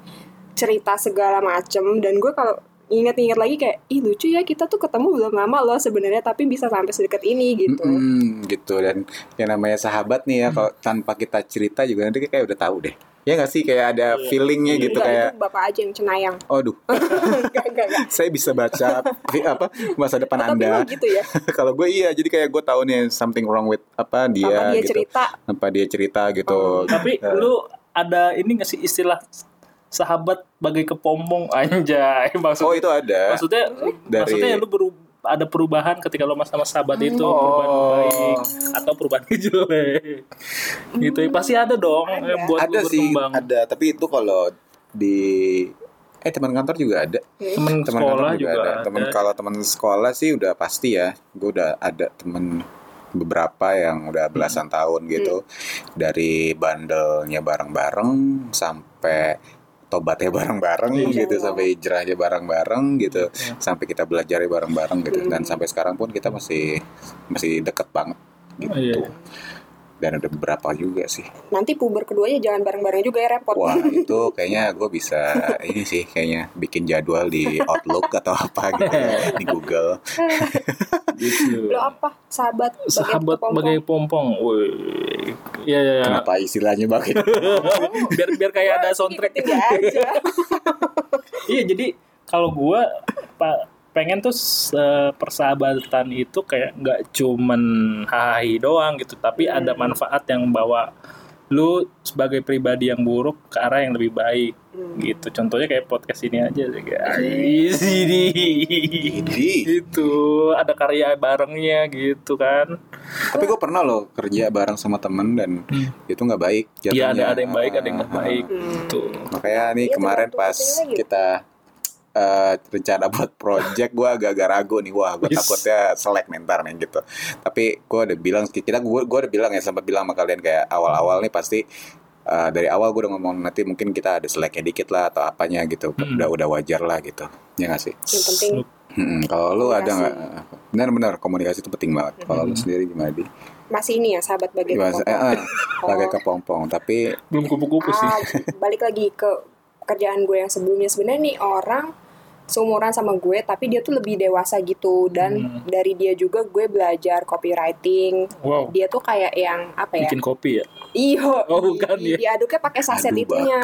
Speaker 3: cerita segala macem dan gue kalau ingat-ingat lagi kayak ih lucu ya kita tuh ketemu belum lama loh sebenarnya tapi bisa sampai sedekat ini gitu.
Speaker 1: Mm-mm, gitu dan yang namanya sahabat nih ya kalau tanpa kita cerita juga nanti kayak udah tahu deh ya nggak sih kayak ada
Speaker 2: Iya.
Speaker 1: feelingnya gitu
Speaker 3: Enggak,
Speaker 1: kayak
Speaker 3: itu bapak aja yang cenayang.
Speaker 1: aduh ah,
Speaker 3: enggak, enggak, enggak.
Speaker 1: saya bisa baca apa masa depan
Speaker 3: Tapi
Speaker 1: Kan anda
Speaker 3: lo gitu ya.
Speaker 1: kalau gue iya jadi kayak gue tahu nih something wrong with apa dia,
Speaker 3: Tanpa dia
Speaker 1: gitu
Speaker 3: cerita. Oh.
Speaker 1: apa dia cerita gitu
Speaker 2: Tapi
Speaker 1: Eh.
Speaker 2: lu ada ini nggak sih istilah sahabat bagai kepompong anjay maksudnya
Speaker 1: oh itu ada
Speaker 2: maksudnya
Speaker 1: Dari-
Speaker 2: maksudnya lu beru- ada perubahan ketika lo sama sahabat
Speaker 3: Hmm.
Speaker 2: itu
Speaker 1: Oh.
Speaker 2: perubahan baik atau perubahan jelek gitu ya pasti ada dong yang buat
Speaker 1: ada
Speaker 2: lu
Speaker 1: sih
Speaker 2: berkembang
Speaker 1: ada tapi itu kalau di eh teman kantor juga ada
Speaker 2: temen
Speaker 1: teman
Speaker 2: sekolah
Speaker 1: kantor
Speaker 2: juga, Iya. ada,
Speaker 1: Teman kalau teman sekolah sih udah pasti ya. Gue udah ada temen beberapa yang udah
Speaker 2: Hmm.
Speaker 1: belasan tahun gitu dari bandelnya bareng-bareng sampai tobatnya bareng-bareng
Speaker 3: Iya.
Speaker 1: gitu sampai hijrahnya bareng-bareng gitu
Speaker 2: Iya.
Speaker 1: sampai kita belajar bareng-bareng gitu dan
Speaker 3: Hmm.
Speaker 1: sampai sekarang pun kita masih masih deket banget gitu
Speaker 2: Iya.
Speaker 1: dan udah beberapa juga sih
Speaker 3: Nanti puber keduanya jangan bareng-bareng juga ya repot.
Speaker 1: Wah itu kayaknya gue bisa ini sih kayaknya bikin jadwal di Outlook atau apa gitu ya, di Google.
Speaker 2: Gitu.
Speaker 3: Lo apa? Sahabat bagai
Speaker 2: sahabat
Speaker 3: kepompong.
Speaker 2: bagai pompong woi ya, ya, ya.
Speaker 1: Kenapa istilahnya bagi?
Speaker 2: Iya. biar biar kayak
Speaker 3: Iya,
Speaker 2: ada
Speaker 3: Wah,
Speaker 2: soundtrack
Speaker 3: ikutin aja.
Speaker 2: iya jadi kalau gua pak pengen tuh se- persahabatan itu kayak nggak cuman hahi doang gitu tapi ada
Speaker 3: Hmm.
Speaker 2: manfaat yang bawa lu sebagai pribadi yang buruk ke arah yang lebih baik
Speaker 3: Hmm. Iya.
Speaker 2: gitu contohnya kayak podcast ini aja sih guys ini
Speaker 1: Jadi,
Speaker 2: gitu ada karya barengnya gitu kan
Speaker 1: tapi gue pernah loh kerja bareng sama temen dan itu nggak baik.
Speaker 2: Hmm.
Speaker 1: jatuhnya.
Speaker 2: Iya ada ada yang baik ada yang nggak
Speaker 1: Ah,
Speaker 2: baik
Speaker 3: Hmm.
Speaker 2: gitu
Speaker 1: Makanya nih
Speaker 3: Iya,
Speaker 1: kemarin
Speaker 3: tergantung
Speaker 1: pas
Speaker 3: syutingnya gitu.
Speaker 1: kita eh, rencana buat project gue agak-agak ragu nih wah gue
Speaker 2: Yes.
Speaker 1: takutnya selek nih ntar nih gitu tapi gue udah bilang kita gue gue udah bilang ya sempat bilang sama kalian kayak awal-awal nih pasti eh, dari awal gue udah ngomong nanti mungkin kita ada seleknya dikit lah atau apanya gitu
Speaker 2: Hmm.
Speaker 1: udah udah wajar lah gitu ya nggak sih
Speaker 3: Yang penting
Speaker 1: Mm-mm. kalau lu ada nggak benar-benar komunikasi itu penting banget kalau lu
Speaker 2: Mm-mm.
Speaker 1: sendiri gimana di
Speaker 3: masih ini ya sahabat bagi
Speaker 1: Gimana- eh,
Speaker 3: kelompok.
Speaker 1: eh, pakai kepompong tapi
Speaker 2: belum kupu-kupu sih
Speaker 3: Ah, balik lagi ke kerjaan gue yang sebelumnya sebenarnya nih orang seumuran sama gue tapi dia tuh lebih dewasa gitu
Speaker 2: Hmm.
Speaker 3: dan dari dia juga gue belajar copywriting
Speaker 2: wow
Speaker 3: dia tuh kayak yang apa ya
Speaker 2: bikin kopi ya
Speaker 3: iyo
Speaker 2: Oh, bukan
Speaker 3: di-
Speaker 2: ya.
Speaker 3: diaduknya pakai saset
Speaker 1: Aduh,
Speaker 3: itunya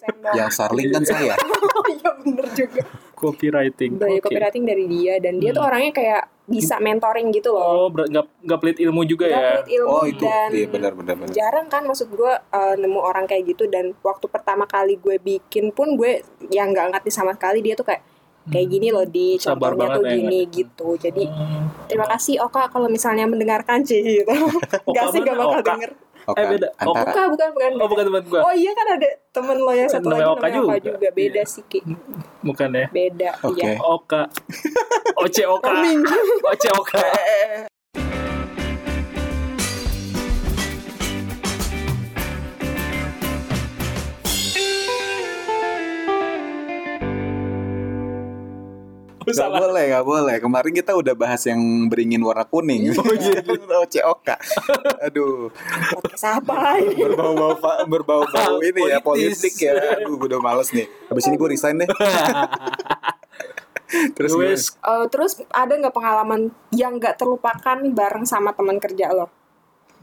Speaker 3: sendok.
Speaker 1: yang sarling kan saya
Speaker 3: oh iya bener juga
Speaker 2: copywriting
Speaker 3: belajar
Speaker 2: oke.
Speaker 3: Iya, copywriting dari dia dan dia tuh
Speaker 2: Hmm.
Speaker 3: orangnya kayak bisa mentoring gitu loh
Speaker 2: Oh, ber- nggak nggak pelit ilmu juga
Speaker 3: Dia
Speaker 2: ya?
Speaker 3: pelit ilmu
Speaker 1: oh itu
Speaker 3: dan
Speaker 1: iya benar-benar benar.
Speaker 3: jarang kan maksud gue eh, nemu orang kayak gitu dan waktu pertama kali gue bikin pun gue yang nggak ngerti sama sekali dia tuh kayak kayak gini loh di
Speaker 2: Hmm. Sabar
Speaker 3: contohnya
Speaker 2: banget
Speaker 3: tuh
Speaker 2: ya,
Speaker 3: gini
Speaker 2: ngerti.
Speaker 3: gitu jadi
Speaker 2: Hmm.
Speaker 3: terima kasih Oka kalau misalnya mendengarkan sih gitu nggak sih
Speaker 2: mana
Speaker 3: nggak bakal
Speaker 2: Oka?
Speaker 3: denger
Speaker 1: Oke,
Speaker 2: Eh, beda.
Speaker 1: antara
Speaker 3: Oka bukan bukan
Speaker 2: Oh, bukan teman gua.
Speaker 3: oh iya kan ada temen lo yang satu
Speaker 2: Namanya
Speaker 3: lagi
Speaker 2: Oka
Speaker 3: namanya Oka
Speaker 2: juga.
Speaker 3: juga, beda
Speaker 2: Iya.
Speaker 3: sih Ki
Speaker 2: Bukan ya?
Speaker 3: beda
Speaker 1: Oke.
Speaker 3: iya
Speaker 2: Oka. Oce Oka.
Speaker 3: Roaming.
Speaker 2: Oce Oka. Oh,
Speaker 1: Gak
Speaker 2: salah.
Speaker 1: boleh, gak boleh. Kemarin kita udah bahas yang beringin warna kuning. Oh iya, COK. Aduh,
Speaker 3: podcast apa ini?
Speaker 1: berbau-bau berbau-bau ini ya
Speaker 2: Politis.
Speaker 1: politik ya. Aduh, gue udah males nih. Habis ini gue resign deh. Terus
Speaker 2: Wes,
Speaker 1: gue
Speaker 3: Eh, terus ada nggak pengalaman yang nggak terlupakan bareng sama teman kerja lo?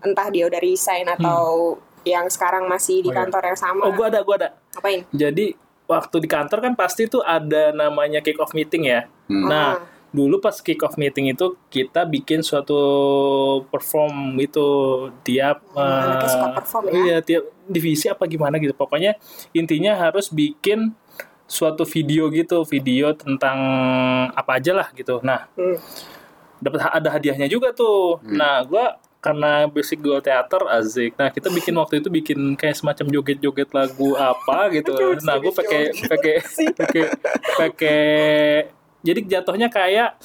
Speaker 3: Entah dia udah resign atau yang sekarang masih
Speaker 2: Hmm. Oh,
Speaker 3: di
Speaker 2: iya.
Speaker 3: kantor yang sama.
Speaker 2: oh, gua ada, gua ada.
Speaker 3: Ngapain?
Speaker 2: Jadi waktu di kantor kan pasti tuh ada namanya kick off meeting ya.
Speaker 1: Hmm.
Speaker 2: Nah,
Speaker 3: Ah.
Speaker 2: dulu pas kick off meeting itu kita bikin suatu perform itu tiap
Speaker 3: Hmm, anaknya suka
Speaker 2: eh,
Speaker 3: perform ya.
Speaker 2: Iya, tiap divisi apa gimana gitu. Pokoknya intinya harus bikin suatu video gitu, video tentang apa aja lah gitu. Nah,
Speaker 3: Hmm.
Speaker 2: dapat ha- ada hadiahnya juga tuh.
Speaker 1: Hmm.
Speaker 2: Nah, gua karena basic gua teater azik. Nah, kita bikin waktu itu bikin kayak semacam joget-joget lagu apa gitu. Nah, gua pakai pakai pakai pakai jadi jatuhnya kayak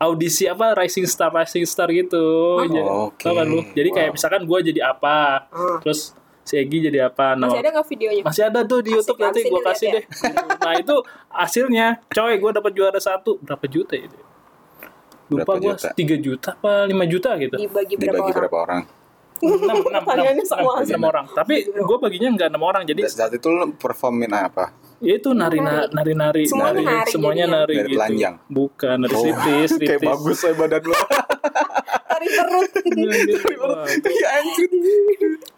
Speaker 2: audisi apa Rising Star Rising Star gitu.
Speaker 3: Oh.
Speaker 2: Jadi,
Speaker 1: Oke.
Speaker 2: tau kan lu? Jadi
Speaker 1: Wow.
Speaker 2: kayak misalkan gua jadi apa,
Speaker 3: Ah.
Speaker 2: terus si Egi jadi apa. Nah,
Speaker 3: Masih ada nggak videonya?
Speaker 2: masih ada tuh di
Speaker 3: Asik,
Speaker 2: YouTube nanti
Speaker 3: asik
Speaker 2: gue
Speaker 3: dilihat
Speaker 2: kasih
Speaker 3: ya.
Speaker 2: deh. Nah itu hasilnya, coy gue dapat juara satu berapa juta itu? Lupa
Speaker 1: Berapa
Speaker 2: gue
Speaker 1: juta?
Speaker 2: 3 juta apa 5 juta gitu?
Speaker 3: Dibagi berapa
Speaker 1: dibagi
Speaker 3: orang?
Speaker 1: berapa orang?
Speaker 2: 6, 6, 6,
Speaker 3: Pertanyaannya Iya. semua Iya. asik.
Speaker 2: orang. Tapi gue baginya nggak 6 orang. Jadi
Speaker 1: Dan Saat itu lu performin apa?
Speaker 2: ya itu nari-nari. nari-nari
Speaker 3: Semuanya
Speaker 2: nari,
Speaker 3: nari
Speaker 2: Semuanya
Speaker 3: jadinya.
Speaker 2: nari
Speaker 1: Dari
Speaker 2: gitu.
Speaker 1: telanjang. Oh,
Speaker 2: Bukan, dari sitis,
Speaker 1: kayak
Speaker 2: sitis.
Speaker 1: bagus saya badan lu.
Speaker 3: Tarik perut.
Speaker 1: Iya, anjir.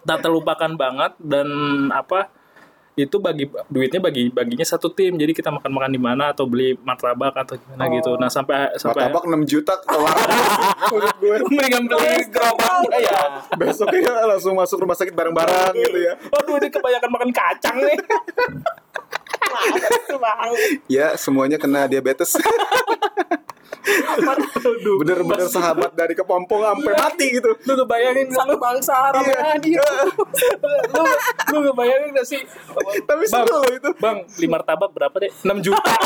Speaker 2: tak terlupakan banget dan apa itu bagi duitnya bagi baginya satu tim jadi kita makan makan di mana atau beli martabak atau gimana gitu nah sampai sampai
Speaker 1: Martabak 6 juta kelar. Menurut gue.
Speaker 2: mendingan beli gerobaknya ya.
Speaker 1: Besoknya langsung masuk rumah sakit bareng-bareng gitu ya.
Speaker 2: Aduh, ini kebanyakan makan kacang nih.
Speaker 3: Males banget.
Speaker 1: Ya, semuanya kena diabetes.
Speaker 2: Aduh,
Speaker 1: bener-bener sahabat dari kepompong sampai mati gitu.
Speaker 2: Lu ngebayangin lu,
Speaker 3: Satu bangsa
Speaker 2: Iya.
Speaker 3: ramai hadir.
Speaker 2: lu, lu ngebayangin gak sih?
Speaker 1: Tapi seru loh itu.
Speaker 2: Bang, beli martabak berapa deh? 6 juta.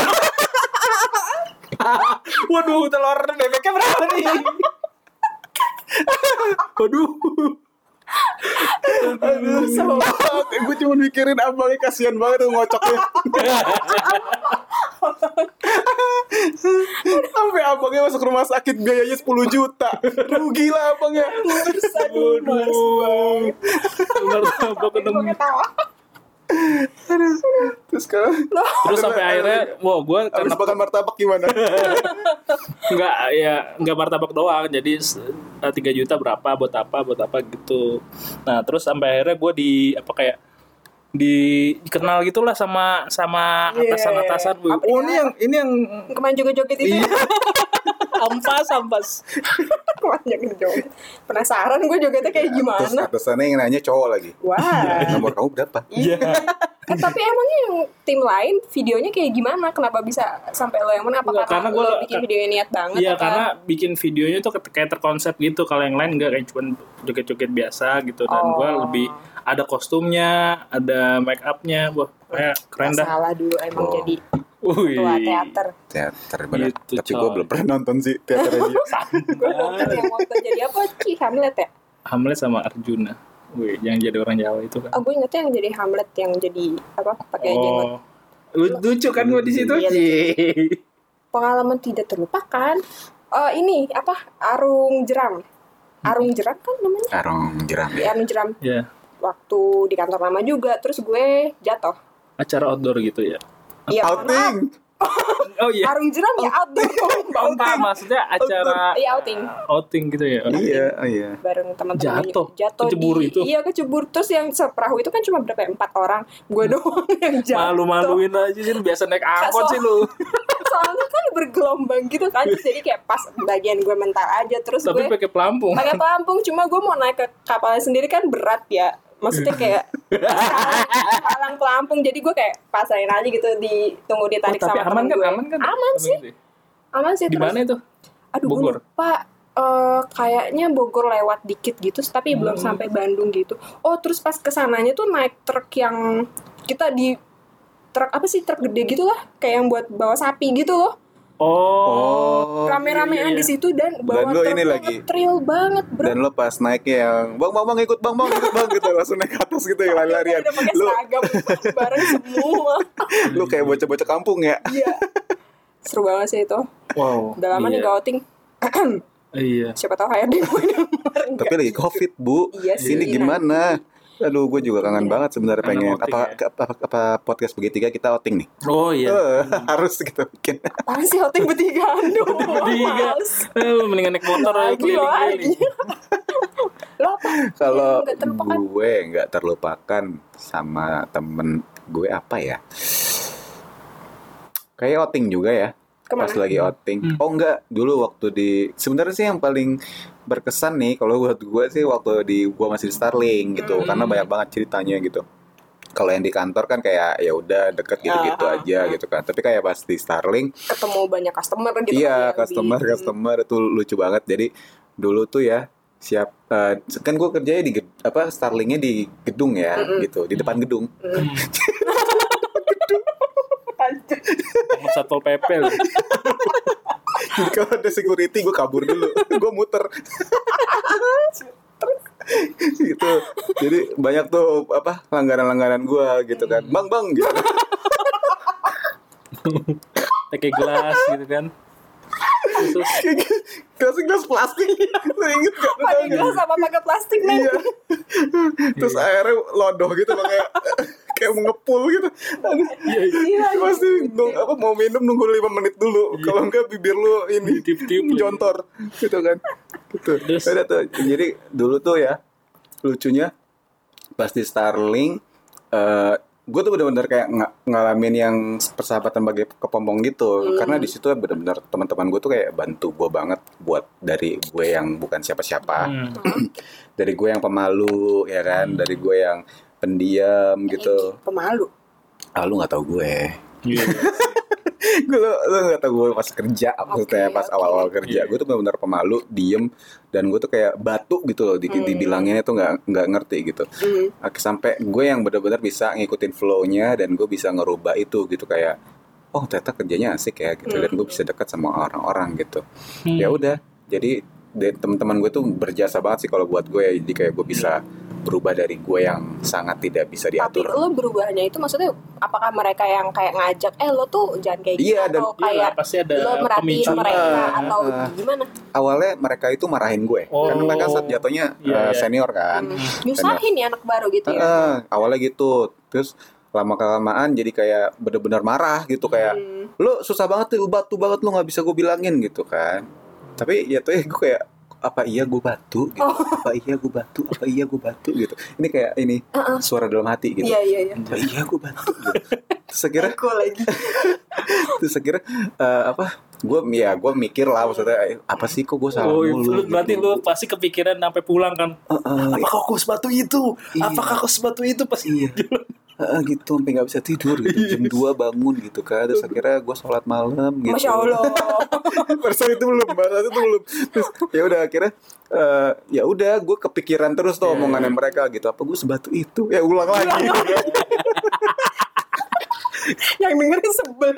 Speaker 2: Waduh, telur bebeknya berapa nih? Waduh.
Speaker 1: gue cuma mikirin abangnya kasihan banget tuh ngocoknya. Sampai abangnya masuk rumah sakit biayanya 10 juta. Rugi lah abangnya.
Speaker 3: Aduh, males banget.
Speaker 2: Martabak
Speaker 3: Gue
Speaker 2: 6
Speaker 3: ketawa.
Speaker 1: Terus sekarang
Speaker 2: Terus sampai akhirnya, wow, gue
Speaker 1: Habis
Speaker 2: karena
Speaker 1: makan martabak gimana?
Speaker 2: Enggak ya, enggak martabak doang. Jadi s- eh, 3 juta berapa buat apa buat apa gitu. Nah, terus sampai akhirnya gue di apa kayak dikenal gitulah sama sama
Speaker 3: Iya.
Speaker 2: atasan-atasan Bu.
Speaker 3: Apa- ya?
Speaker 1: Oh ini yang ini yang
Speaker 3: Kemarin juga joget itu.
Speaker 1: Iya.
Speaker 2: ampas ampas
Speaker 3: Kemarin juga joget. Penasaran gue jogetnya
Speaker 2: Iya,
Speaker 3: kayak
Speaker 1: terus
Speaker 3: gimana.
Speaker 1: atasannya yang nanya cowok lagi.
Speaker 3: Wah.
Speaker 1: Nomor kamu berapa?
Speaker 2: iya
Speaker 3: Eh, tapi emangnya yang tim lain videonya kayak gimana? Kenapa bisa sampai lo yang mana? Apa
Speaker 2: Nggak,
Speaker 3: karena,
Speaker 2: Iya, karena gua-
Speaker 3: lo bikin videonya niat banget?
Speaker 2: iya
Speaker 3: apa?
Speaker 2: karena bikin videonya tuh kayak terkonsep gitu kalau yang lain enggak kayak cuman joget-joget biasa gitu dan
Speaker 3: Oh.
Speaker 2: gua lebih ada kostumnya ada make upnya wah kayak keren
Speaker 3: Nggak
Speaker 2: dah
Speaker 3: Salah dulu emang
Speaker 1: Oh.
Speaker 3: jadi
Speaker 2: Wih.
Speaker 3: tua teater.
Speaker 1: Teater bener.
Speaker 2: Gitu,
Speaker 1: Tapi gue
Speaker 2: coy.
Speaker 1: belum pernah nonton sih teaternya dia.
Speaker 3: Gue waktu yang waktu jadi apa? Ki Hamlet ya?
Speaker 2: Hamlet sama Arjuna Wih, yang jadi orang Jawa itu kan
Speaker 3: Oh, gue ingetnya yang jadi Hamlet yang jadi apa? Pakai jenggot.
Speaker 2: oh Lu- lucu kan gua di situ
Speaker 3: Iya.
Speaker 2: Yeay.
Speaker 3: Pengalaman tidak terlupakan. Eh ini apa? Arung jeram. Arung jeram kan namanya?
Speaker 1: Karung jeram
Speaker 3: Ya,
Speaker 1: ya.
Speaker 3: arung jeram.
Speaker 2: ya
Speaker 3: Waktu di kantor lama juga. Terus gue jatuh.
Speaker 2: acara outdoor gitu ya
Speaker 3: Iya, mohon maaf.
Speaker 1: Outing.
Speaker 2: oh iya
Speaker 3: Arung jeram ya outdoor dong.
Speaker 2: Entah, maksudnya acara
Speaker 3: Iya, outing.
Speaker 2: outing gitu ya
Speaker 1: Iya, oh iya.
Speaker 3: bareng teman-teman
Speaker 2: Jatuh.
Speaker 3: jatuh
Speaker 2: Kecebur
Speaker 3: di-
Speaker 2: itu.
Speaker 3: iya kecebur terus yang seperahu itu kan cuma berapa ya? empat orang gue doang yang jatuh
Speaker 2: Hmm. malu-maluin aja sih lu biasa naik angkot
Speaker 3: Kasar.
Speaker 2: sih lu
Speaker 3: soalnya kan bergelombang gitu kan Terus jadi kayak pas bagian gue mental aja terus
Speaker 2: Iya. tapi
Speaker 3: gue
Speaker 2: pakai pelampung
Speaker 3: pakai pelampung cuma gue mau naik ke kapalnya sendiri kan berat ya maksudnya kayak palang- palang pelampung jadi gue kayak pasarin aja gitu
Speaker 2: Oh,
Speaker 3: ditunggu ditarik
Speaker 2: tapi
Speaker 3: sama
Speaker 2: aman
Speaker 3: temen
Speaker 2: kan
Speaker 3: gue.
Speaker 2: aman kan
Speaker 3: aman sih aman sih
Speaker 2: di
Speaker 3: terus-
Speaker 2: mana itu
Speaker 3: aduh gue
Speaker 2: Bogor?
Speaker 3: lupa Eh, kayaknya Bogor lewat dikit gitu tapi belum
Speaker 2: Hmm.
Speaker 3: sampai Bandung gitu oh terus pas kesananya tuh naik truk yang kita di truk apa sih truk gede gitu lah kayak yang buat bawa sapi gitu loh
Speaker 2: oh
Speaker 1: Oh.
Speaker 2: iya,
Speaker 3: rame-ramean
Speaker 2: iya.
Speaker 3: di situ dan bawa
Speaker 1: Dan lo
Speaker 3: truk
Speaker 1: ini
Speaker 3: tuh
Speaker 1: lagi.
Speaker 3: ngetril banget bro
Speaker 1: Dan lo pas naiknya yang bang bang bang ikut bang bang ikut bang gitu langsung naik ke atas gitu ya lari-larian.
Speaker 3: Iya, udah pakai
Speaker 1: Lo
Speaker 3: seragam bareng semua
Speaker 1: lo kayak bocah-bocah kampung ya.
Speaker 3: iya seru banget sih itu
Speaker 2: wow
Speaker 3: udah lama nih
Speaker 2: iya.
Speaker 3: gak outing
Speaker 2: iya
Speaker 3: siapa tahu HRD gue nomor
Speaker 1: Tapi lagi covid bu.
Speaker 3: Iya sih,
Speaker 1: Sini
Speaker 3: iya.
Speaker 1: gimana? Aduh, gue juga kangen banget sebenarnya
Speaker 2: Kangen
Speaker 1: pengen
Speaker 2: outing
Speaker 1: apa,
Speaker 2: ya.
Speaker 1: apa, apa podcast bertiga kita outing nih.
Speaker 2: oh iya
Speaker 1: Eh, harus kita bikin.
Speaker 3: apaan sih outing bertiga aduh
Speaker 2: bertiga.
Speaker 3: males.
Speaker 2: Eh, mendingan naik motor aja
Speaker 3: lagi lagi
Speaker 2: keliling-keliling
Speaker 3: lo apa
Speaker 1: Kalau
Speaker 3: Nggak terlupakan.
Speaker 1: gue nggak terlupakan sama temen gue apa ya? Kayak outing juga ya.
Speaker 3: kemana
Speaker 1: Pas lagi outing.
Speaker 2: Hmm.
Speaker 1: Oh enggak, dulu waktu di sebenarnya sih yang paling berkesan nih kalau buat gue sih waktu di gua masih di Starling gitu
Speaker 3: Hmm.
Speaker 1: karena banyak banget ceritanya gitu. Kalau yang di kantor kan kayak ya udah deket gitu-gitu
Speaker 3: Ah,
Speaker 1: aja gitu kan. Tapi kayak pas di Starling,
Speaker 3: ketemu banyak customer gitu
Speaker 1: iya
Speaker 3: kan, yang
Speaker 1: customer
Speaker 3: di-
Speaker 1: customer itu lucu banget. Jadi dulu tuh ya siap eh, kan gue kerjanya di ged- apa Starlingnya di gedung ya
Speaker 3: Mm-mm.
Speaker 1: gitu di depan gedung
Speaker 3: Hmm. Anjir.
Speaker 2: Sama satpol pp lu.
Speaker 1: kalau ada security gue kabur dulu gue muter gitu jadi banyak tuh apa langganan-langganan gue gitu kan bang bang gitu
Speaker 2: pakai gelas gitu kan Terus,
Speaker 1: gelas gelas plastik lu inget gak Lu
Speaker 3: pakai
Speaker 1: tau
Speaker 3: gelas
Speaker 1: gak?
Speaker 3: sama pakai plastik men
Speaker 1: iya terus
Speaker 2: Iya.
Speaker 1: airnya lodoh gitu loh kayak kayak mengepul gitu Aduh,
Speaker 2: Iya,
Speaker 3: Gila,
Speaker 1: pasti nung- apa mau minum nunggu lima menit dulu kalau enggak bibir lu ini
Speaker 2: Ditiup-tiup Iya. lagi.
Speaker 1: jontor gitu kan gitu
Speaker 2: Terus?
Speaker 1: Udah tuh. jadi dulu tuh ya lucunya pas di Starling eh gue tuh bener-bener kayak nga- ngalamin yang persahabatan bagi kepompong
Speaker 2: Hmm.
Speaker 1: gitu karena di situ bener-bener teman-teman gue tuh kayak bantu gue banget buat dari gue yang bukan siapa-siapa
Speaker 2: hmm.
Speaker 1: dari gue yang pemalu ya kan dari gue yang pendiam gitu
Speaker 3: eh, pemalu
Speaker 1: ah lu nggak tahu gue
Speaker 2: Iya.
Speaker 1: gue lu, lu gak tau gue pas kerja maksudnya
Speaker 3: Oke,
Speaker 1: pas
Speaker 3: oke.
Speaker 1: awal-awal kerja
Speaker 2: Iya.
Speaker 1: gue tuh benar-benar pemalu diem dan gue tuh kayak batu gitu loh di, dibilangnya tuh nggak nggak ngerti gitu
Speaker 3: Hmm.
Speaker 1: Oke, sampai gue yang benar-benar bisa ngikutin flow-nya dan gue bisa ngerubah itu gitu kayak oh ternyata kerjanya asik ya gitu dan gue bisa dekat sama orang-orang gitu ya udah jadi de- teman-teman gue tuh berjasa banget sih kalau buat gue ya. jadi kayak gue bisa berubah dari gue yang sangat tidak bisa
Speaker 3: tapi
Speaker 1: diatur
Speaker 3: lo berubahnya itu maksudnya apakah mereka yang kayak ngajak eh lo tuh jangan kayak gitu
Speaker 1: Iya, dan-
Speaker 3: atau
Speaker 2: Iya lah,
Speaker 3: kayak
Speaker 2: pasti ada
Speaker 3: lo merhatiin
Speaker 2: pemicu Iya.
Speaker 3: mereka
Speaker 1: Ah,
Speaker 3: atau
Speaker 1: ah.
Speaker 3: gimana
Speaker 1: awalnya mereka itu marahin gue
Speaker 2: Oh.
Speaker 1: karena mereka saat jatuhnya
Speaker 2: Iya,
Speaker 1: eh,
Speaker 2: iya.
Speaker 1: senior kan
Speaker 3: Hmm. nyusahin ya anak baru gitu ya
Speaker 1: Heeh, awalnya gitu terus lama kelamaan jadi kayak bener-bener marah gitu kayak
Speaker 3: Hmm.
Speaker 1: lu susah banget tuh batu banget lu nggak bisa gue bilangin gitu kan tapi ya tuh ya gue kayak apa iya gue batu
Speaker 3: Oh.
Speaker 1: gitu. apa iya gue batu apa iya gue batu gitu ini kayak ini suara dalam hati gitu
Speaker 3: Iya iya iya.
Speaker 1: apa iya gue batu gitu. terus akhirnya
Speaker 3: Aku lagi.
Speaker 1: terus akhirnya eh, apa gue ya gue mikir lah maksudnya eh, apa sih kok gue salah
Speaker 2: Oh,
Speaker 1: mulu
Speaker 2: lu, berarti
Speaker 1: gitu.
Speaker 2: lu pasti kepikiran sampai pulang kan.
Speaker 1: Heeh,
Speaker 2: Apakah aku sebatu itu?
Speaker 1: Uh, Iya.
Speaker 2: Apakah aku sebatu itu pasti?
Speaker 1: iya Heeh, gitu sampai nggak bisa tidur gitu jam 2 bangun gitu kan terus akhirnya gue sholat malam gitu
Speaker 3: Masya Allah.
Speaker 1: Perso itu belum, bahasa itu belum. Terus ya udah akhirnya eh, ya udah gue kepikiran terus tuh omongannya mereka gitu. Apa gue sebatu itu? Ya ulang lagi.
Speaker 3: Yang dengerin sebel.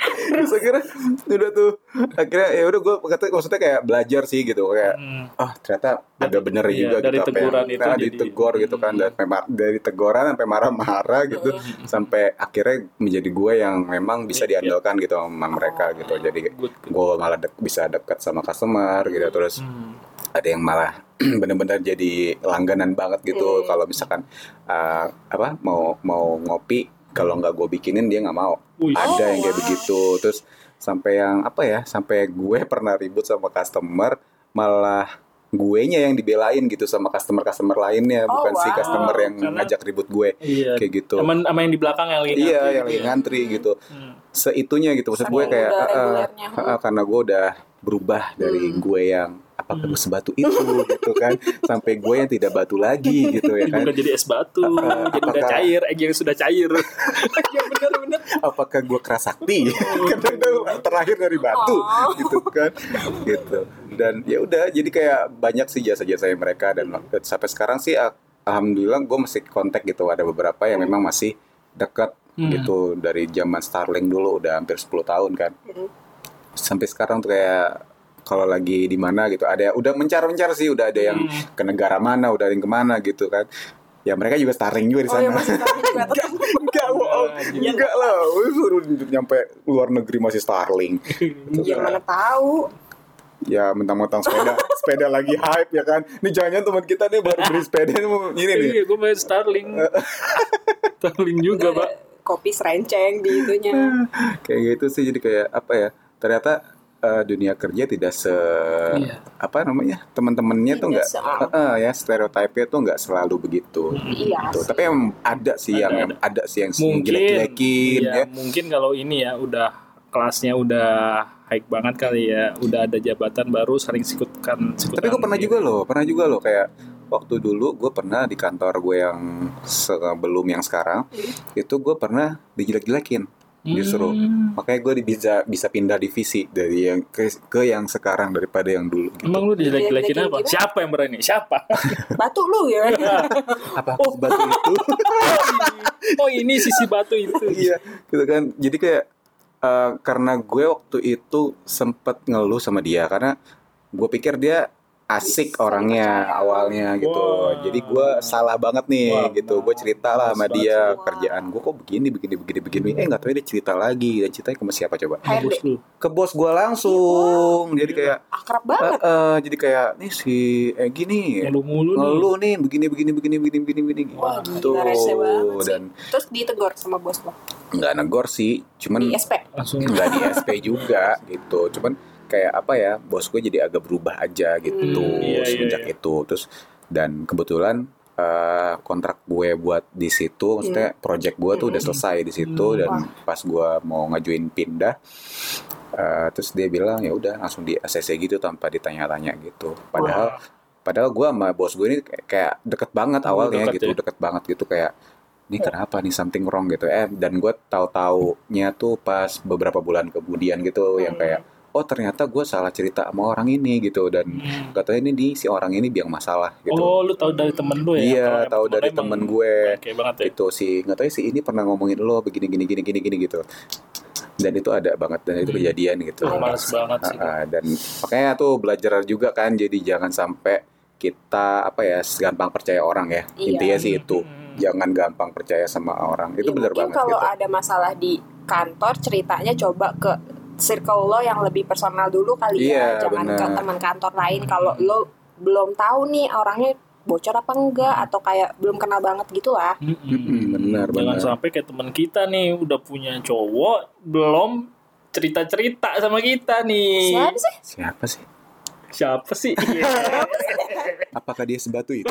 Speaker 1: terus akhirnya udah tuh akhirnya ya udah gue kata maksudnya kayak belajar sih gitu kayak
Speaker 2: Hmm.
Speaker 1: ah ternyata ada bener
Speaker 2: Iya,
Speaker 1: juga gitu apa
Speaker 2: dari
Speaker 1: yang
Speaker 2: teguran
Speaker 1: nah,
Speaker 2: itu jadi- hmm.
Speaker 1: ditegur gitu kan dari, pema- dari teguran sampai marah-marah gitu sampai akhirnya menjadi gue yang memang bisa
Speaker 2: Iya.
Speaker 1: diandalkan gitu sama mereka gitu jadi
Speaker 2: Good.
Speaker 1: gue malah dek- bisa dekat sama customer gitu terus
Speaker 2: Hmm.
Speaker 1: ada yang malah benar-benar jadi langganan banget
Speaker 2: Iya,
Speaker 1: gitu
Speaker 3: Hmm.
Speaker 1: kalau misalkan uh, apa mau mau ngopi kalau
Speaker 2: Hmm.
Speaker 1: nggak gue bikinin dia nggak mau
Speaker 2: Wih.
Speaker 1: ada yang kayak
Speaker 3: Oh, wow.
Speaker 1: begitu terus sampai yang apa ya sampai gue pernah ribut sama customer malah guenya yang dibelain gitu sama customer customer lainnya
Speaker 3: Oh,
Speaker 1: bukan si
Speaker 3: wow.
Speaker 1: customer yang
Speaker 2: Karena-
Speaker 1: ngajak ribut gue
Speaker 2: Iya.
Speaker 1: kayak gitu
Speaker 2: Sama, sama yang di belakang yang lagi
Speaker 1: iya
Speaker 2: ngantri
Speaker 1: yang
Speaker 2: gitu
Speaker 1: lagi
Speaker 2: ya.
Speaker 1: ngantri gitu
Speaker 2: Hmm.
Speaker 1: seitunya gitu maksud gue
Speaker 3: Saking
Speaker 1: kayak "Ah,
Speaker 3: udah
Speaker 1: ah,
Speaker 3: regulernya.
Speaker 1: Ha, ha, karena gue udah berubah dari
Speaker 3: Hmm.
Speaker 1: gue yang apa
Speaker 2: Hmm.
Speaker 1: gue sebatu itu gitu kan sampai gue yang tidak batu lagi gitu ya kan uh.
Speaker 2: Bukan jadi es batu,
Speaker 1: Apakah-
Speaker 2: jadi udah cair, egg yang sudah cair.
Speaker 3: Ya bener-bener.
Speaker 1: apakah gue kerasakti kadang kadang terakhir dari batu
Speaker 3: Oh.
Speaker 1: gitu kan gitu dan ya udah jadi kayak banyak sih jasa-jasa yang mereka dan dan sampai sekarang sih ah, alhamdulillah gue masih kontak gitu ada beberapa yang memang masih dekat
Speaker 2: Hmm.
Speaker 1: gitu dari zaman Starlink dulu udah hampir 10 tahun kan
Speaker 3: Hmm.
Speaker 1: sampai sekarang tuh kayak kalau lagi di mana gitu ada udah mencar-mencar sih udah ada yang
Speaker 2: Hmm.
Speaker 1: ke negara mana udah ada yang kemana gitu kan ya mereka juga starring juga di
Speaker 3: Oh
Speaker 1: sana
Speaker 3: ya masih tapi juga tetap.
Speaker 1: enggak bohong
Speaker 2: Iya.
Speaker 1: enggak lah Lu suruh nyampe luar negeri masih starling Gitu kan.
Speaker 3: Ya
Speaker 2: Iya.
Speaker 3: mana tahu.
Speaker 1: ya mentang-mentang sepeda sepeda lagi hype ya kan ini jangan teman kita nih baru beli sepeda ini mau- ini nih
Speaker 2: Iya, gue main Starling. Starling juga, Pak.
Speaker 3: Kopi serenceng di itunya.
Speaker 1: kayak gitu sih jadi kayak apa ya ternyata eh, dunia kerja tidak se Uh.
Speaker 2: Iya.
Speaker 1: apa namanya teman-temannya tuh
Speaker 3: Tidak
Speaker 1: enggak
Speaker 3: se-
Speaker 1: ya stereotipnya tuh enggak selalu begitu
Speaker 3: Iya.
Speaker 1: Tuh, Gitu. tapi yang ada sih
Speaker 2: Ada,
Speaker 1: yang yang ada sih yang
Speaker 2: Mungkin.
Speaker 1: jelek-jelekin
Speaker 2: Iya,
Speaker 1: ya
Speaker 2: mungkin kalau ini ya udah kelasnya udah high banget kali ya. Udah ada jabatan baru sering sikutkan sikutan.
Speaker 1: Tapi gue pernah
Speaker 2: gitu.
Speaker 1: juga loh, pernah juga loh kayak waktu dulu gue pernah di kantor gue yang sebelum yang sekarang itu gue pernah dijelek-jelekin justru.
Speaker 2: Hmm.
Speaker 1: Makanya gue di- bisa bisa pindah divisi dari yang ke, ke yang sekarang daripada yang dulu. gitu.
Speaker 2: Emang lu dijelek-jelekin
Speaker 3: Dijelek-jelekin
Speaker 2: apa?
Speaker 3: gimana?
Speaker 2: Siapa yang berani? Siapa?
Speaker 3: Batu lu ya.
Speaker 1: Iya. Apa aku sebatu itu?
Speaker 2: oh ini sisi batu itu.
Speaker 1: iya, gitu kan. Jadi kayak eh, karena gue waktu itu sempet ngeluh sama dia karena gue pikir dia asik
Speaker 3: Bisa
Speaker 1: orangnya
Speaker 3: dipercaya.
Speaker 1: awalnya gitu.
Speaker 2: Wah.
Speaker 1: Jadi gue salah banget nih
Speaker 2: Wah,
Speaker 1: gitu. Gue cerita lah sama
Speaker 2: males banget
Speaker 1: dia
Speaker 3: sih.
Speaker 1: kerjaan gue kok begini begini begini begini. Eh nggak tahu dia cerita lagi dan ceritanya ke siapa coba?
Speaker 3: HRD.
Speaker 2: Bos lu.
Speaker 1: Ke bos gue langsung. Jadi
Speaker 2: Iya.
Speaker 1: kayak
Speaker 3: Akrab
Speaker 1: eh,
Speaker 3: banget.
Speaker 1: eh, jadi kayak nih si Egi nih
Speaker 2: Ngeluh mulu nih.
Speaker 1: ngeluh nih begini begini begini begini begini begini
Speaker 3: Wah, gila,
Speaker 1: gitu.
Speaker 3: rese banget sih.
Speaker 1: Dan
Speaker 3: Terus ditegur sama bos lo
Speaker 1: nggak negor sih, cuman
Speaker 3: di SP.
Speaker 2: Langsung
Speaker 1: nggak di SP juga gitu cuman kayak apa ya bos gue jadi agak berubah aja gitu
Speaker 2: Hmm, iya, iya,
Speaker 1: semenjak
Speaker 2: iya.
Speaker 1: itu terus dan kebetulan eh, kontrak gue buat di situ maksudnya project gue tuh udah
Speaker 3: Hmm.
Speaker 1: selesai di situ
Speaker 2: Hmm.
Speaker 1: dan pas gue mau ngajuin pindah eh, terus dia bilang ya udah langsung di ACC gitu tanpa ditanya-tanya gitu padahal
Speaker 2: Wah.
Speaker 1: Padahal gue sama bos gue ini kayak- kayak deket banget
Speaker 2: Oh,
Speaker 1: awalnya
Speaker 2: deket
Speaker 1: gitu,
Speaker 2: ya?
Speaker 1: deket banget gitu kayak ini kenapa nih something wrong gitu. Eh dan gue tahu-taunya tuh pas beberapa bulan kemudian gitu yang kayak oh ternyata gue salah cerita sama orang ini gitu dan
Speaker 2: Hmm.
Speaker 1: katanya ini di si orang ini biang masalah gitu.
Speaker 2: Oh, lu tahu dari temen lu ya?
Speaker 1: Iya,
Speaker 2: Kalau emang
Speaker 1: tahu dari
Speaker 2: lu emang
Speaker 1: temen gue.
Speaker 2: Oke banget ya.
Speaker 1: Gitu si nggak tahu si ini pernah ngomongin lo begini gini gini gini gini gitu. Dan itu ada banget dan itu
Speaker 2: Hmm.
Speaker 1: kejadian gitu.
Speaker 2: Lu males banget sih.
Speaker 1: Ah, ah, dan makanya tuh belajar juga kan jadi jangan sampai kita apa ya gampang percaya orang ya
Speaker 3: Iya.
Speaker 1: intinya sih itu Ya.
Speaker 2: Hmm.
Speaker 1: jangan gampang percaya sama orang itu
Speaker 3: Ya,
Speaker 1: benar
Speaker 3: mungkin
Speaker 1: banget
Speaker 3: kalau
Speaker 1: gitu
Speaker 3: ada masalah di kantor ceritanya coba ke circle lo yang lebih personal dulu kali
Speaker 1: Iya,
Speaker 3: ya jangan ke
Speaker 1: bener.
Speaker 3: teman kantor lain kalau lo belum tahu nih orangnya bocor apa enggak atau kayak belum kenal banget gitu lah
Speaker 2: Mm-mm.
Speaker 1: Mm-mm, benar, benar.
Speaker 2: Jangan sampai kayak teman kita nih udah punya cowok belum cerita-cerita sama kita nih.
Speaker 3: Siapa sih?
Speaker 1: Siapa sih?
Speaker 2: Siapa sih?
Speaker 1: ya? Apakah dia sebatu itu?